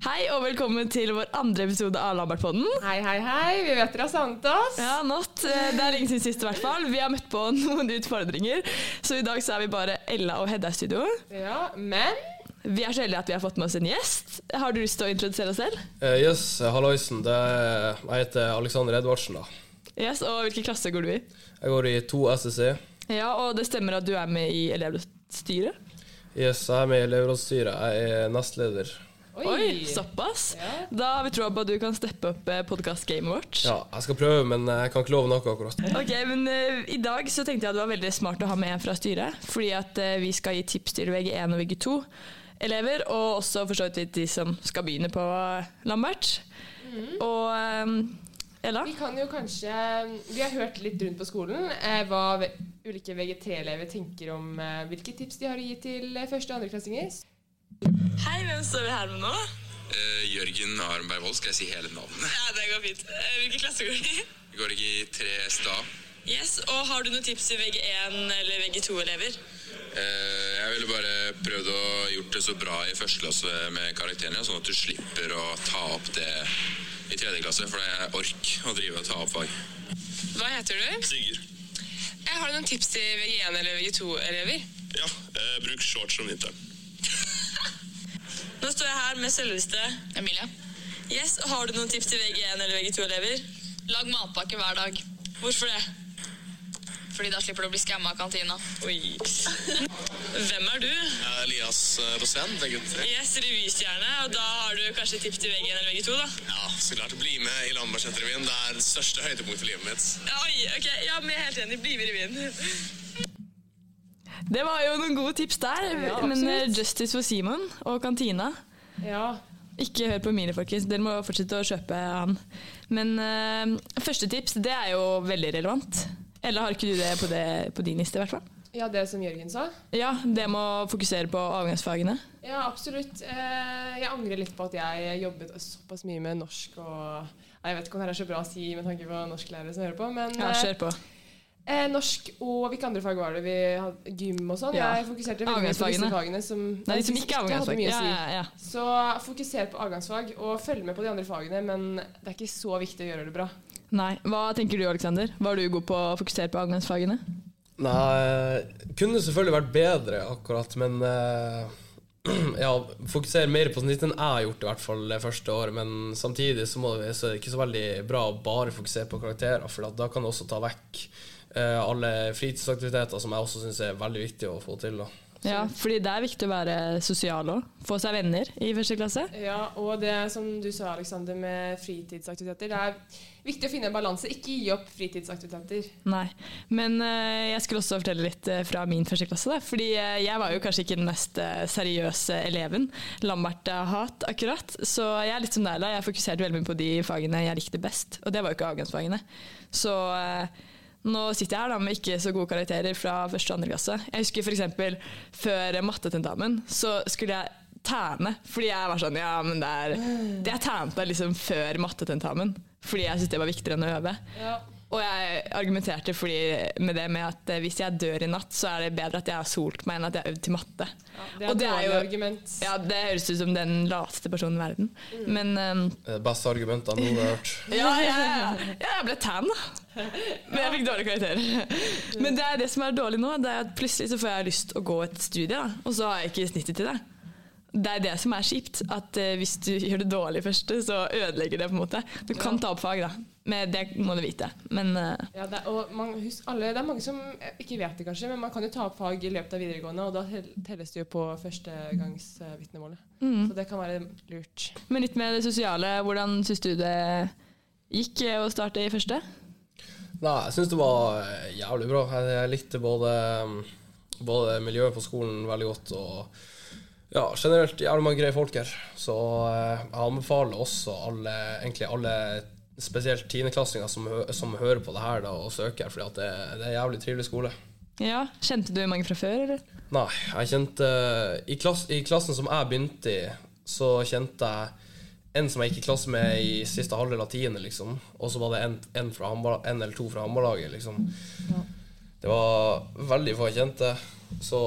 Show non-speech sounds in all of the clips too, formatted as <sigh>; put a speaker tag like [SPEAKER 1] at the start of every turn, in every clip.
[SPEAKER 1] Hei og velkommen til vår andre episode av Lambertpodden.
[SPEAKER 2] Hei, hei, hei. Vi vet dere har savnet oss.
[SPEAKER 1] Ja, Natt. eh, Det er lenge siden sist, i hvert fall. Vi har møtt på noen utfordringer, så i dag så er vi bare Ella og Hedda i studio.
[SPEAKER 2] Ja, men
[SPEAKER 1] Vi er så heldige at vi har fått med oss en gjest. Har du lyst til å introdusere deg selv?
[SPEAKER 3] Eh, Yes, halloisen. Det er, jeg heter Alexander Edvardsen. da.
[SPEAKER 1] Yes, Og hvilken klasse går du i?
[SPEAKER 3] Jeg går i 2 SSE.
[SPEAKER 1] Ja, Og det stemmer at du er med i elevstyret?
[SPEAKER 3] Yes, jeg er med i elevrådsstyret. Jeg er nestleder.
[SPEAKER 2] Oi.
[SPEAKER 1] Oi, såpass!
[SPEAKER 2] Ja.
[SPEAKER 1] Da har vi troa på at du kan steppe opp podkast-gamet vårt.
[SPEAKER 3] Ja, jeg skal prøve, men jeg kan ikke love noe akkurat.
[SPEAKER 1] Ok, men eh, I dag så tenkte jeg at det var veldig smart å ha med en fra styret. Fordi at eh, vi skal gi tips til VG1 og VG2-elever, og også for så vidt litt de som skal begynne på Lambert. Og eh, Ella?
[SPEAKER 2] Vi kan jo kanskje Vi har hørt litt rundt på skolen eh, hva ve- ulike VGT-elever tenker om eh, hvilke tips de har å gi til eh, første- og andreklassinger.
[SPEAKER 1] Hei, hvem står vi her med nå?
[SPEAKER 4] Eh, Jørgen Arnberg Wold, skal jeg si hele navnet?
[SPEAKER 1] Ja, Det går fint. Eh, Hvilken klasse går du i?
[SPEAKER 4] Vi går ikke i tre sta.
[SPEAKER 1] Yes, og Har du noen tips til VG1 eller VG2-elever?
[SPEAKER 4] Eh, Jeg ville bare prøvd å gjort det så bra i første klasse med karakterene, sånn at du slipper å ta opp det i tredje klasse, for det er ork å drive og ta opp fag.
[SPEAKER 5] Hva heter du?
[SPEAKER 6] Sigurd.
[SPEAKER 5] Jeg har du noen tips til VG1- eller VG2-elever?
[SPEAKER 6] Ja, eh, bruk shorts om vinteren.
[SPEAKER 1] Nå står jeg her med selveste.
[SPEAKER 5] Emilie.
[SPEAKER 1] Yes, og Har du noen tips til VG1 eller VG2-elever?
[SPEAKER 5] Lag matpakke hver dag,
[SPEAKER 1] Hvorfor det?
[SPEAKER 5] fordi da slipper du å bli skamma av kantina.
[SPEAKER 1] Oi. Hvem er du?
[SPEAKER 6] Jeg er Elias eh, Rosén, tenker jeg.
[SPEAKER 1] Yes, revystjerne, og da har du kanskje tips til VG1 eller VG2, da?
[SPEAKER 6] Ja, så klart. Bli med i Lambertseterrevyen. Det er det største høydepunktet i livet mitt.
[SPEAKER 1] Oi, ok, ja, men jeg er helt enig. Bli med i revyen. Det var jo noen gode tips der,
[SPEAKER 2] Ja,
[SPEAKER 1] men eh,
[SPEAKER 2] absolutt.
[SPEAKER 1] Justice for Simon og kantina.
[SPEAKER 2] Ja.
[SPEAKER 1] Ikke hør på mine, folkens. Dere må fortsette å kjøpe han. Men eh, første tips, det er jo veldig relevant. Eller har ikke du det på, det, på din liste, i hvert fall?
[SPEAKER 2] ja, det som Jørgen sa.
[SPEAKER 1] Ja, det må fokusere på avgangsfagene.
[SPEAKER 2] Ja, absolutt. Eh, Jeg angrer litt på at jeg jobbet såpass mye med norsk og Nei, Jeg vet ikke om det her er så bra å si med tanke på norsklærere som hører på, men
[SPEAKER 1] Ja,
[SPEAKER 2] eh,
[SPEAKER 1] kjør på.
[SPEAKER 2] Eh, norsk og hvilke andre fag var det? Vi hadde gym og sånn.
[SPEAKER 1] Ja.
[SPEAKER 2] Jeg fokuserte veldig mye på disse
[SPEAKER 1] Avgangsfagene.
[SPEAKER 2] fagene. Som,
[SPEAKER 1] Nei, de som ikke er
[SPEAKER 2] hadde
[SPEAKER 1] avgangsfag.
[SPEAKER 2] mye å
[SPEAKER 1] Ja,
[SPEAKER 2] si.
[SPEAKER 1] ja, ja.
[SPEAKER 2] Så fokuser på avgangsfag, og følg med på de andre fagene, men det er ikke så viktig å gjøre det bra.
[SPEAKER 1] Nei. Hva tenker du, Aleksander? Var du god på å fokusere på avgangsfagene?
[SPEAKER 3] Nei, kunne selvfølgelig vært bedre akkurat, men eh, <clears throat> ja, fokusere mer på snitt enn jeg har gjort i hvert fall det første året. Men samtidig så, må det, så er det ikke så veldig bra å bare fokusere på karakterer, for at da kan du også ta vekk eh, alle fritidsaktiviteter som jeg også syns er veldig viktig å få til. da.
[SPEAKER 1] Ja, fordi det er viktig å være sosial òg. Få seg venner i første klasse.
[SPEAKER 2] Ja, Og det som du sa, Alexander, med fritidsaktiviteter. Det er viktig å finne en balanse. Ikke gi opp fritidsaktiviteter.
[SPEAKER 1] Nei. Men eh, jeg skulle også fortelle litt eh, fra min første klasse. Da. Fordi eh, jeg var jo kanskje ikke den mest eh, seriøse eleven. Lambert eh, hat, akkurat. Så jeg er litt som deg, da. Jeg fokuserte veldig mye på de fagene jeg likte best. Og det var jo ikke avgangsfagene. Så eh, nå sitter jeg her da med ikke så gode karakterer fra første og andre klasse. Jeg husker f.eks. før mattetentamen så skulle jeg tæne. Fordi jeg var sånn Ja, men det er det Jeg tænte liksom før mattetentamen. Fordi jeg syntes det var viktigere enn å øve.
[SPEAKER 2] Ja.
[SPEAKER 1] Og jeg argumenterte fordi, med det med at eh, hvis jeg dør i natt, så er det bedre at jeg har solt meg enn at jeg har øvd til matte.
[SPEAKER 2] Det er
[SPEAKER 1] og
[SPEAKER 2] et
[SPEAKER 1] det er
[SPEAKER 2] dårlig
[SPEAKER 1] jo
[SPEAKER 2] argument.
[SPEAKER 1] ja, det høres ut som den lateste personen i verden. Men eh,
[SPEAKER 3] Det er det beste argumentet jeg noen har hørt.
[SPEAKER 1] ja, ja, ja, ja, jeg ble tan, da. Men jeg fikk dårlige karakterer. Men det er det som er dårlig nå, det er at plutselig så får jeg lyst å gå et studie, da, og så har jeg ikke snittet til det. Det er det som er kjipt, at eh, hvis du <laughs> gjør det dårlig først, så ødelegger det på en måte. Du kan ta opp fag, da. Men det må du vite. Men eh,
[SPEAKER 2] Ja, det, er- og man, husk, alle, det er mange som eh, ikke vet det, kanskje, men man kan jo ta opp fag i løpet av videregående, og da tel- telles det jo på førstegangsvitnemålet.
[SPEAKER 1] Mm.
[SPEAKER 2] Så det kan være lurt.
[SPEAKER 1] Men litt med det sosiale, hvordan syns du det gikk eh, å starte i første?
[SPEAKER 3] Nei, jeg syns det var eh, jævlig bra. Jeg, jeg likte både, mm, både miljøet på skolen veldig godt og ja, generelt jævlig mange greie folk her. Så eh, jeg anbefaler også alle, egentlig alle spesielt tiendeklassinger som, hø- som hører på det her, da, og søker, fordi at det, det er en jævlig trivelig skole.
[SPEAKER 1] Ja, Kjente du mange fra før, eller?
[SPEAKER 3] Nei, jeg kjente eh, i, klass, I klassen som jeg begynte i, så kjente jeg en som jeg gikk i klasse med i siste halvdel av tiende, liksom. Og så var det en, en, fra handball, en eller to fra håndballaget, liksom. Det var veldig få jeg kjente. Så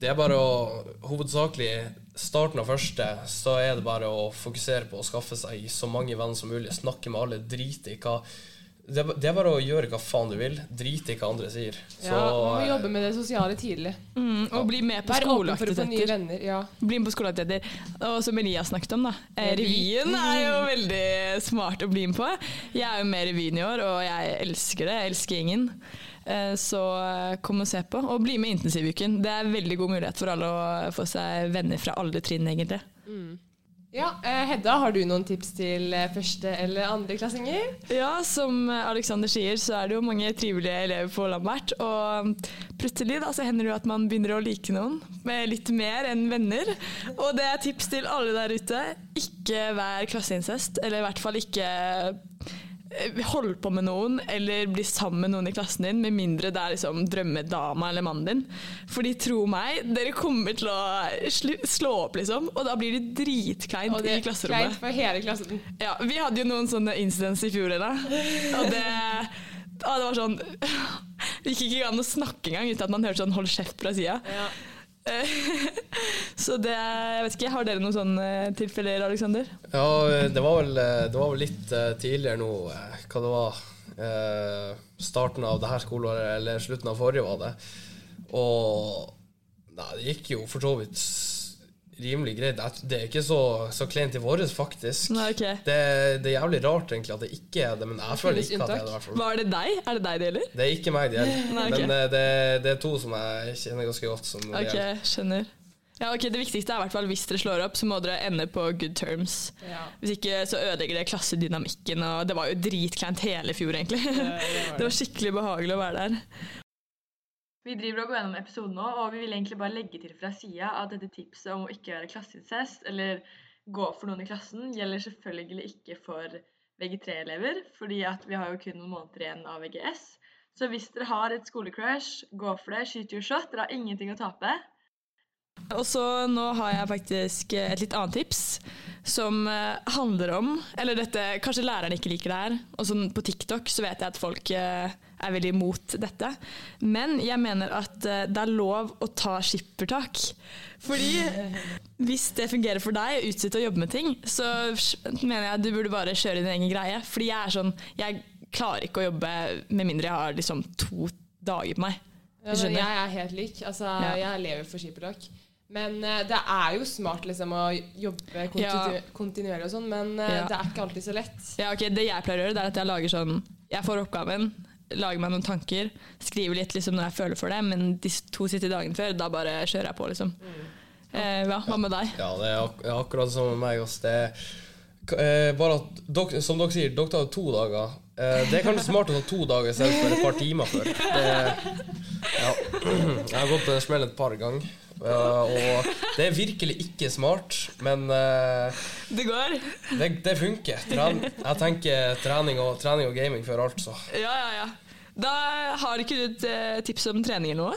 [SPEAKER 3] det er bare å hovedsakelig starten av første, så er det bare å fokusere på å skaffe seg så mange venner som mulig. Snakke med alle. Drite i hva det er ba- det er bare å gjøre hva faen du vil. Drite i hva andre sier. Så,
[SPEAKER 2] Ja, man må jobbe med det sosiale tidlig.
[SPEAKER 1] Mm, og bli med på
[SPEAKER 2] Vær åpen for å få nye
[SPEAKER 1] skoleaktiviteter.
[SPEAKER 2] venner. Ja.
[SPEAKER 1] Bli med på skoleaktiviteter. Og som Elias snakket om, da. eh, Revyen er jo
[SPEAKER 2] Mm.
[SPEAKER 1] veldig smart å bli med på. Jeg er jo med i revyen i år, og jeg elsker det. Jeg elsker gjengen. Eh, Så eh, kom og se på. Og bli med i intensivuken. Det er veldig god mulighet for alle å få seg venner fra alle trinn, egentlig.
[SPEAKER 2] Ja, eh, Hedda, har du noen tips til eh, første- eller andreklassinger?
[SPEAKER 1] Ja, som Alexander sier, så er det jo mange trivelige elever på Lambert. Og plutselig da, så hender det jo at man begynner å like noen med litt mer enn venner. Og det er tips til alle der ute. Ikke vær klasseincest, eller i hvert fall ikke eh, holde på med noen eller bli sammen med noen i klassen din, med mindre det er liksom drømmedama eller mannen din. Fordi tro meg, dere kommer til å slu- slå opp, liksom, og da blir det
[SPEAKER 2] Og
[SPEAKER 1] dritkleint
[SPEAKER 2] det
[SPEAKER 1] i
[SPEAKER 2] er
[SPEAKER 1] klasserommet.
[SPEAKER 2] kleint for hele klassen.
[SPEAKER 1] Ja, vi hadde jo noen sånne incidents i fjor, da. Og det, ja, det var sånn Det gikk ikke an å snakke engang uten at man hørte sånn 'hold kjeft' fra sida.
[SPEAKER 2] Ja.
[SPEAKER 1] <laughs> Så det Jeg vet ikke, har dere noen sånne tilfeller, Aleksander?
[SPEAKER 3] Ja, det var vel, det var vel litt eh, tidligere nå eh, hva det var. eh, Starten av det her skoleåret, eller slutten av forrige, var det. Og nei, det gikk jo for så vidt s- rimelig greit. Jeg- Det er ikke så, så kleint i våres, faktisk.
[SPEAKER 1] Nei, ok.
[SPEAKER 3] det, det er jævlig rart, egentlig, at det ikke er det, men jeg føler
[SPEAKER 2] finnes
[SPEAKER 3] ikke at det
[SPEAKER 2] unntak.
[SPEAKER 3] er det. i hvert fall.
[SPEAKER 1] Var det deg? Er det deg det gjelder?
[SPEAKER 3] Det er ikke meg det gjelder,
[SPEAKER 1] <laughs> Nei, ok.
[SPEAKER 3] men eh, det, det er to som jeg kjenner ganske godt. Som det
[SPEAKER 1] Ok,
[SPEAKER 3] gjelder.
[SPEAKER 1] skjønner. Ja, ok, Det viktigste er i hvert fall hvis dere slår opp, så må dere ende på good terms.
[SPEAKER 2] Ja.
[SPEAKER 1] Hvis ikke så ødelegger det klassedynamikken, og det var jo dritkleint hele fjor, egentlig. <laughs> Det var skikkelig behagelig å være der.
[SPEAKER 7] Vi driver og går gjennom episoden nå, og vi vil egentlig bare legge til fra sida at dette tipset om å ikke være klasseincest eller gå for noen i klassen, gjelder selvfølgelig ikke for VG3-elever, fordi at vi har jo kun noen måneder igjen av VGS. Så hvis dere har et skolecrush, gå for det, skyt your shot, dere har ingenting å tape.
[SPEAKER 1] Og så nå har jeg faktisk eh, et litt annet tips som eh, handler om Eller dette, kanskje læreren ikke liker det her. Og sånn på TikTok så vet jeg at folk eh, er veldig imot dette. Men jeg mener at eh, det er lov å ta skippertak. Fordi hvis det fungerer for deg å utsette å jobbe med ting, så mener jeg du burde bare kjøre din egen greie. Fordi jeg er sånn Jeg klarer ikke å jobbe med mindre jeg har liksom to dager på meg.
[SPEAKER 2] Ja,
[SPEAKER 1] Du
[SPEAKER 2] men
[SPEAKER 1] skjønner?
[SPEAKER 2] jeg er helt lik. Altså, Jeg lever for skippertak. Men eh, det er jo smart liksom, å jobbe kontinu
[SPEAKER 1] Ja.
[SPEAKER 2] kontinuerlig og sånn, men eh,
[SPEAKER 1] Ja.
[SPEAKER 2] det er ikke alltid så lett.
[SPEAKER 1] Ja, ok, Det jeg pleier å gjøre, det er at jeg lager sånn Jeg får oppgaven, lager meg noen tanker, skriver litt liksom når jeg føler for det, men de s- to siste dagene før, da bare kjører jeg på, liksom. Eh, ja, hva med deg?
[SPEAKER 3] Ja, det er ak det er akkurat som med meg. ass. Det er, k- eh, bare at dok som dere sier, dere tar jo to dager. Eh, det er kanskje smart å ta to dager selv for et par timer før. Det, ja. <clears throat> Jeg har gått på den smellen et par ganger. eh, og det er virkelig ikke smart, men eh,
[SPEAKER 1] Det går?
[SPEAKER 3] det, det funker. Tren jeg tenker trening og, trening og gaming før alt, så.
[SPEAKER 1] Ja, ja, ja. Da har ikke du et eh, tips om trening eller noe?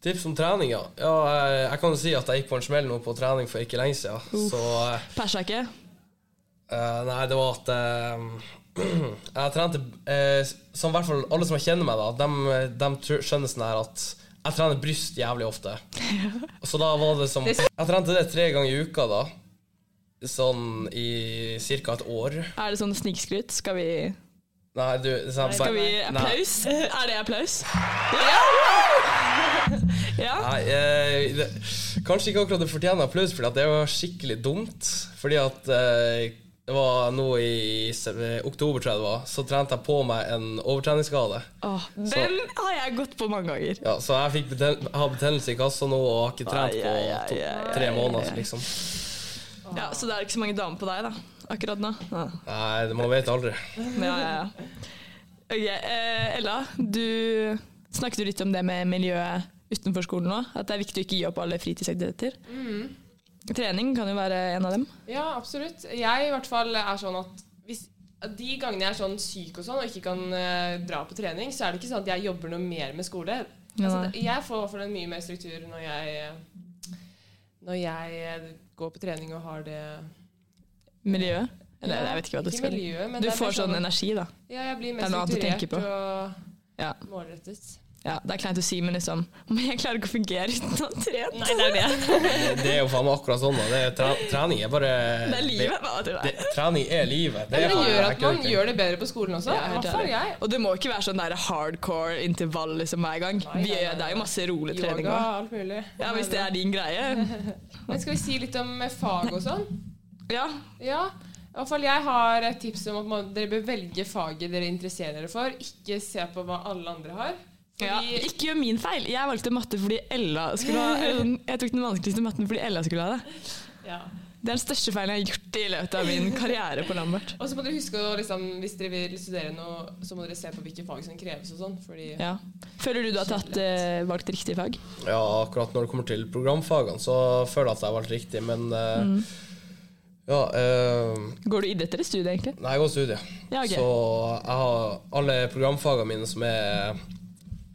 [SPEAKER 3] Tips om trening, ja. ja eh, jeg kan jo si at jeg gikk på en smell nå på trening for ikke lenge siden. Så eh,
[SPEAKER 1] Persa ikke?
[SPEAKER 3] Eh, nei, det var at eh, <clears throat> Jeg trente eh, Som i hvert fall alle som kjenner meg, da de, skjønner sånn her at jeg trener bryst jævlig
[SPEAKER 1] <laughs>
[SPEAKER 3] ofte. Så da var det som Jeg trente det tre ganger i uka, da. Sånn i ca. et år.
[SPEAKER 1] Er det sånn snikskryt? Skal vi
[SPEAKER 3] Nei, du sånn,
[SPEAKER 1] Skal vi
[SPEAKER 3] nei.
[SPEAKER 1] applaus? Er det applaus? <laughs> Ja! ja.
[SPEAKER 3] Nei, eh, det, kanskje ikke akkurat det fortjener applaus, for det var skikkelig dumt. Fordi at eh, det var nå i se- eh, oktober, tror jeg det var, så trente jeg på meg en overtreningsskade.
[SPEAKER 1] Åh, den har jeg gått på mange ganger.
[SPEAKER 3] Ja, så jeg fikk beten har betennelse i kassa nå og har ikke trent
[SPEAKER 1] Ai,
[SPEAKER 3] på
[SPEAKER 1] ai, ai,
[SPEAKER 3] to,
[SPEAKER 1] ai, ai,
[SPEAKER 3] tre
[SPEAKER 1] ai,
[SPEAKER 3] måneder,
[SPEAKER 1] ai.
[SPEAKER 3] liksom.
[SPEAKER 1] Ja, Så det er ikke så mange damer på deg da, akkurat nå? Ja.
[SPEAKER 3] Nei, det- man vet aldri.
[SPEAKER 1] Ja, ja, ja. Ok, eh, Ella, du snakket jo litt om det med miljøet utenfor skolen nå. At det er viktig å ikke gi opp alle fritidsaktiviteter.
[SPEAKER 2] Mm.
[SPEAKER 1] Trening kan jo være en av dem.
[SPEAKER 2] Ja, absolutt. Jeg i hvert fall er sånn at hvis at de gangene jeg er sånn syk og sånn og ikke kan eh, dra på trening, så er det ikke sånn at jeg jobber noe mer med skole. Altså,
[SPEAKER 1] Nei.
[SPEAKER 2] det- jeg får i hvert fall en mye mer struktur når jeg, eh, når jeg eh, går på trening og har det
[SPEAKER 1] Miljøet. Eller jeg vet ikke hva du
[SPEAKER 2] Ikke
[SPEAKER 1] skal
[SPEAKER 2] miljøet, men
[SPEAKER 1] Du
[SPEAKER 2] det er
[SPEAKER 1] får
[SPEAKER 2] mer sånn-
[SPEAKER 1] sånn energi, da.
[SPEAKER 2] Ja, jeg blir
[SPEAKER 1] Det
[SPEAKER 2] mer
[SPEAKER 1] er noe annet å
[SPEAKER 2] strukturert
[SPEAKER 1] tenke på.
[SPEAKER 2] og
[SPEAKER 1] Ja.
[SPEAKER 2] målrettet.
[SPEAKER 1] ja, Det er kleint å si, men liksom <laughs> Men jeg klarer ikke å fungere uten å trene. Nei, det er <laughs>
[SPEAKER 3] Det er jo faen meg akkurat sånn. da. Det er tre- trening er bare
[SPEAKER 1] livet. hva tror du det
[SPEAKER 3] Det,
[SPEAKER 1] er?
[SPEAKER 3] trening er livet.
[SPEAKER 2] Men det
[SPEAKER 3] faen meg
[SPEAKER 2] gjør at man
[SPEAKER 3] ikke-
[SPEAKER 2] gjør det bedre på skolen også.
[SPEAKER 1] Ja,
[SPEAKER 2] I
[SPEAKER 1] helt
[SPEAKER 2] hvert fall
[SPEAKER 1] ærlig.
[SPEAKER 2] jeg.
[SPEAKER 1] Og det må ikke være sånn der hardcore intervall liksom hver gang.
[SPEAKER 2] Nei,
[SPEAKER 1] Vi,
[SPEAKER 2] nei, nei,
[SPEAKER 1] det er jo masse rolig trening
[SPEAKER 2] Yoga,
[SPEAKER 1] òg.
[SPEAKER 2] alt mulig.
[SPEAKER 1] Ja, hvis det er din
[SPEAKER 2] <laughs>
[SPEAKER 1] greie.
[SPEAKER 2] Men skal vi si litt om eh, fag og sånn?
[SPEAKER 1] Ja.
[SPEAKER 2] Ja, i hvert fall jeg har et tips om at man, dere bør velge faget dere interesserer dere for. Ikke se på hva alle andre har.
[SPEAKER 1] Ja,
[SPEAKER 2] Fordi,
[SPEAKER 1] ikke gjør min feil. Jeg valgte matte fordi Ella skulle ha eller sånn, Jeg tok den vanskeligste matten fordi Ella skulle ha det.
[SPEAKER 2] ja.
[SPEAKER 1] Det er den største feilen jeg har gjort i løpet av min karriere på Lambert.
[SPEAKER 2] Og så må dere huske å liksom, hvis dere vil studere noe, så må dere se på hvilke fag som kreves og sånn. Fordi
[SPEAKER 1] Ja. Føler du du har tatt, eh, valgt riktig fag?
[SPEAKER 3] Ja, akkurat når det kommer til programfagene, så føler jeg at jeg har valgt riktig, men eh,
[SPEAKER 1] Mm.
[SPEAKER 3] Ja. eh,
[SPEAKER 1] Går du idrett eller studie, egentlig?
[SPEAKER 3] nei, jeg går studie,
[SPEAKER 1] Ja, ok.
[SPEAKER 3] så jeg har alle programfagene mine som er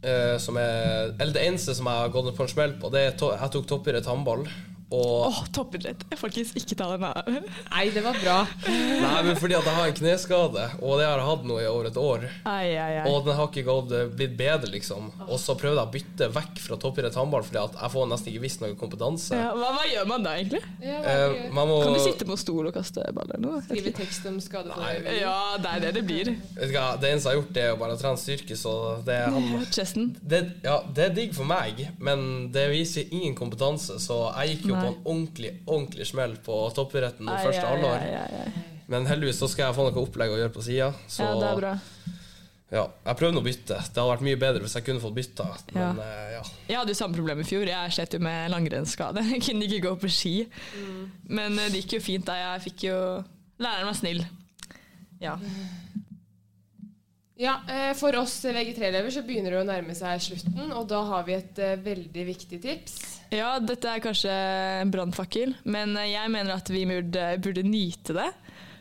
[SPEAKER 3] eh, som er, eller Det eneste som jeg har gått på en smell på, det er to, jeg tok toppidrett håndball. Og,
[SPEAKER 1] Åh, toppidrett. Folkens, ikke ta den av.
[SPEAKER 2] Nei, det var bra.
[SPEAKER 3] Nei, men fordi at jeg har en kneskade, og det har jeg hatt nå i over et år.
[SPEAKER 1] Ai, ai, ai.
[SPEAKER 3] Og den har ikke gått, eh, blitt bedre, liksom. Og så prøvde jeg å bytte vekk fra toppidrett håndball, fordi at jeg får nesten ikke visst noe kompetanse.
[SPEAKER 1] Ja, hva, hva gjør man da, egentlig?
[SPEAKER 2] Ja, bare
[SPEAKER 3] Eh, man må
[SPEAKER 1] Kan du sitte på en stol og kaste ball eller noe?
[SPEAKER 2] Skrive tekst om skade på
[SPEAKER 3] Nei.
[SPEAKER 2] øyet.
[SPEAKER 1] Ja, det er det det blir.
[SPEAKER 3] Vet du hva, Det eneste jeg har gjort, det er jo bare å trene styrke, så det er han
[SPEAKER 1] Chesten.
[SPEAKER 3] det, ja, det er digg for meg, men det viser ingen kompetanse, så jeg gikk jo på en ordentlig ordentlig smell på toppidretten det første halvår.
[SPEAKER 1] Ai, ai, ai.
[SPEAKER 3] Men heldigvis så skal jeg få noe opplegg å gjøre på sida, så
[SPEAKER 1] Ja, det er bra.
[SPEAKER 3] ja, jeg prøvde å bytte. Det hadde vært mye bedre hvis jeg kunne fått bytta,
[SPEAKER 1] Ja.
[SPEAKER 3] men eh, ja.
[SPEAKER 1] Jeg hadde jo samme problem i fjor. Jeg slet jo med langrennsskade. Jeg kunne ikke gå på ski. Men eh, det gikk jo fint da. Jeg fikk jo Læreren var snill. Ja.
[SPEAKER 2] Ja, eh, For oss VG3-elever så begynner det å nærme seg slutten, og da har vi et eh, veldig viktig tips.
[SPEAKER 1] ja, dette er kanskje en brannfakkel, men eh, jeg mener at vi burde, burde nyte det.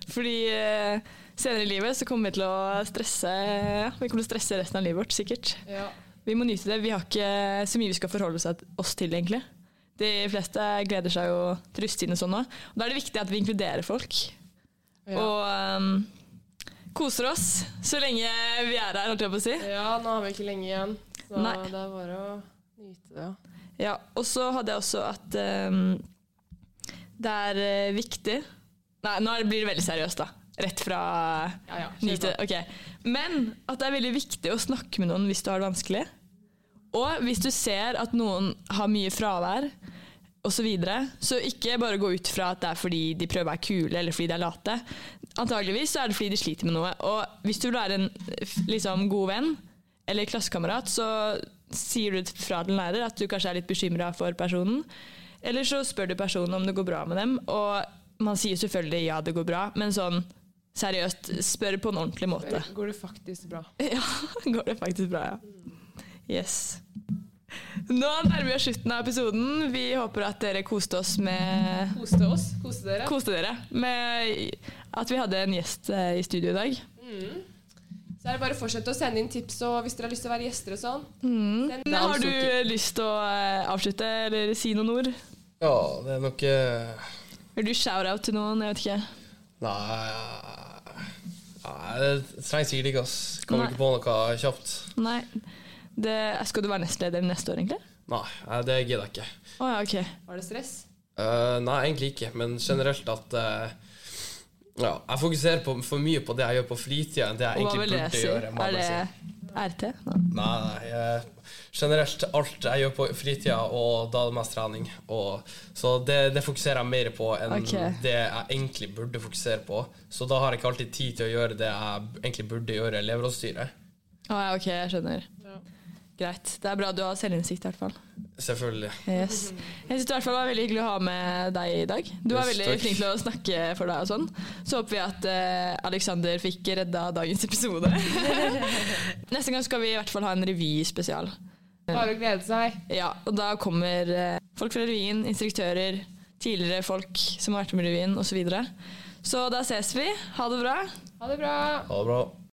[SPEAKER 1] Fordi eh, senere i livet så kommer vi til å stresse ja, Vi kommer til å stresse resten av livet vårt, sikkert.
[SPEAKER 2] Ja.
[SPEAKER 1] Vi må nyte det. Vi har ikke så mye vi skal forholde seg- oss til, egentlig. De fleste gleder seg jo til russetiden og sånn nå. Og Da er det viktig at vi inkluderer folk.
[SPEAKER 2] Ja.
[SPEAKER 1] Og ehm, koser oss så lenge vi er her, holdt jeg på å si.
[SPEAKER 2] ja, nå har vi ikke lenge igjen, så
[SPEAKER 1] Nei.
[SPEAKER 2] det er bare å nyte det. ja.
[SPEAKER 1] Ja, og så hadde jeg også at ehm, det er eh, viktig Nei, nå er det- blir det veldig seriøst, da. Rett fra
[SPEAKER 2] Ja, ja, kjør
[SPEAKER 1] Nyte,
[SPEAKER 2] på.
[SPEAKER 1] ok. Men at det er veldig viktig å snakke med noen hvis du har det vanskelig. Og hvis du ser at noen har mye fravær, og så, videre, så ikke bare gå ut fra at det er fordi de prøver å være kule eller fordi de er late. Antageligvis så er det fordi de sliter med noe. Og hvis du vil være en f- liksom, god venn eller klassekamerat, så sier du fra til en lærer at du kanskje er litt bekymra for personen. Eller så spør du personen om det går bra med dem, og man sier selvfølgelig ja, det går bra, men sånn seriøst, spør på en ordentlig måte.
[SPEAKER 2] Går det faktisk bra?
[SPEAKER 1] <laughs> Ja, går det faktisk bra, ja. Yes. Nå nærmer vi oss slutten av episoden. Vi håper at dere koste oss med
[SPEAKER 2] Koste oss? Koste dere?
[SPEAKER 1] Koste dere med at vi hadde en gjest eh, i studio i dag.
[SPEAKER 2] Så er det bare å fortsette å sende inn tips og hvis dere har lyst til å være gjester og sånn. Send det
[SPEAKER 1] Har du
[SPEAKER 2] avslutt.
[SPEAKER 1] lyst til å eh, avslutte eller si noen ord?
[SPEAKER 3] Ja, det er nok eh,
[SPEAKER 1] Vil du shout-out til noen? Jeg vet ikke.
[SPEAKER 3] Nei Nei, det trengs sikkert ikke, ass. Kommer
[SPEAKER 1] Nei.
[SPEAKER 3] ikke på noe kjapt.
[SPEAKER 1] Nei. Det, skal du være nestleder neste år, egentlig?
[SPEAKER 3] Nei, nei, det gidder jeg ikke.
[SPEAKER 1] Å ja, ok.
[SPEAKER 2] Var det stress?
[SPEAKER 3] Eh, nei, egentlig ikke, men generelt at eh, ja, Jeg fokuserer på, for mye på det jeg gjør på fritida, enn det
[SPEAKER 1] Og
[SPEAKER 3] jeg
[SPEAKER 1] hva
[SPEAKER 3] egentlig
[SPEAKER 1] vil det
[SPEAKER 3] burde
[SPEAKER 1] si?
[SPEAKER 3] gjøre. må jeg
[SPEAKER 1] Er det
[SPEAKER 3] bare si.
[SPEAKER 1] RT? Nei.
[SPEAKER 3] Nei, nei eh, generelt alt jeg gjør på fritida, og da er det mest trening. Og, så det, det fokuserer jeg mer på enn
[SPEAKER 1] Ok.
[SPEAKER 3] det jeg egentlig burde fokusere på. Så da har jeg ikke alltid tid til å gjøre det jeg egentlig burde gjøre i elevrådsstyret.
[SPEAKER 1] Å ja, ok, jeg skjønner. Greit. Det er bra du har selvinnsikt, i hvert fall.
[SPEAKER 3] Selvfølgelig.
[SPEAKER 1] Yes. Jeg synes i hvert fall det var veldig hyggelig å ha med deg i dag. Du var
[SPEAKER 3] Yes,
[SPEAKER 1] veldig
[SPEAKER 3] takk.
[SPEAKER 1] flink til å snakke for deg og sånn. Så håper vi at eh, Alexander fikk redda dagens episode. <laughs> Neste gang skal vi i hvert fall ha en revyspesial.
[SPEAKER 2] Bare å glede seg.
[SPEAKER 1] Ja, og da kommer eh, folk fra revyen, instruktører, tidligere folk som har vært med i revyen osv. Så, videre. så da ses vi. Ha det bra.
[SPEAKER 2] Ha det bra.
[SPEAKER 3] Ha det bra.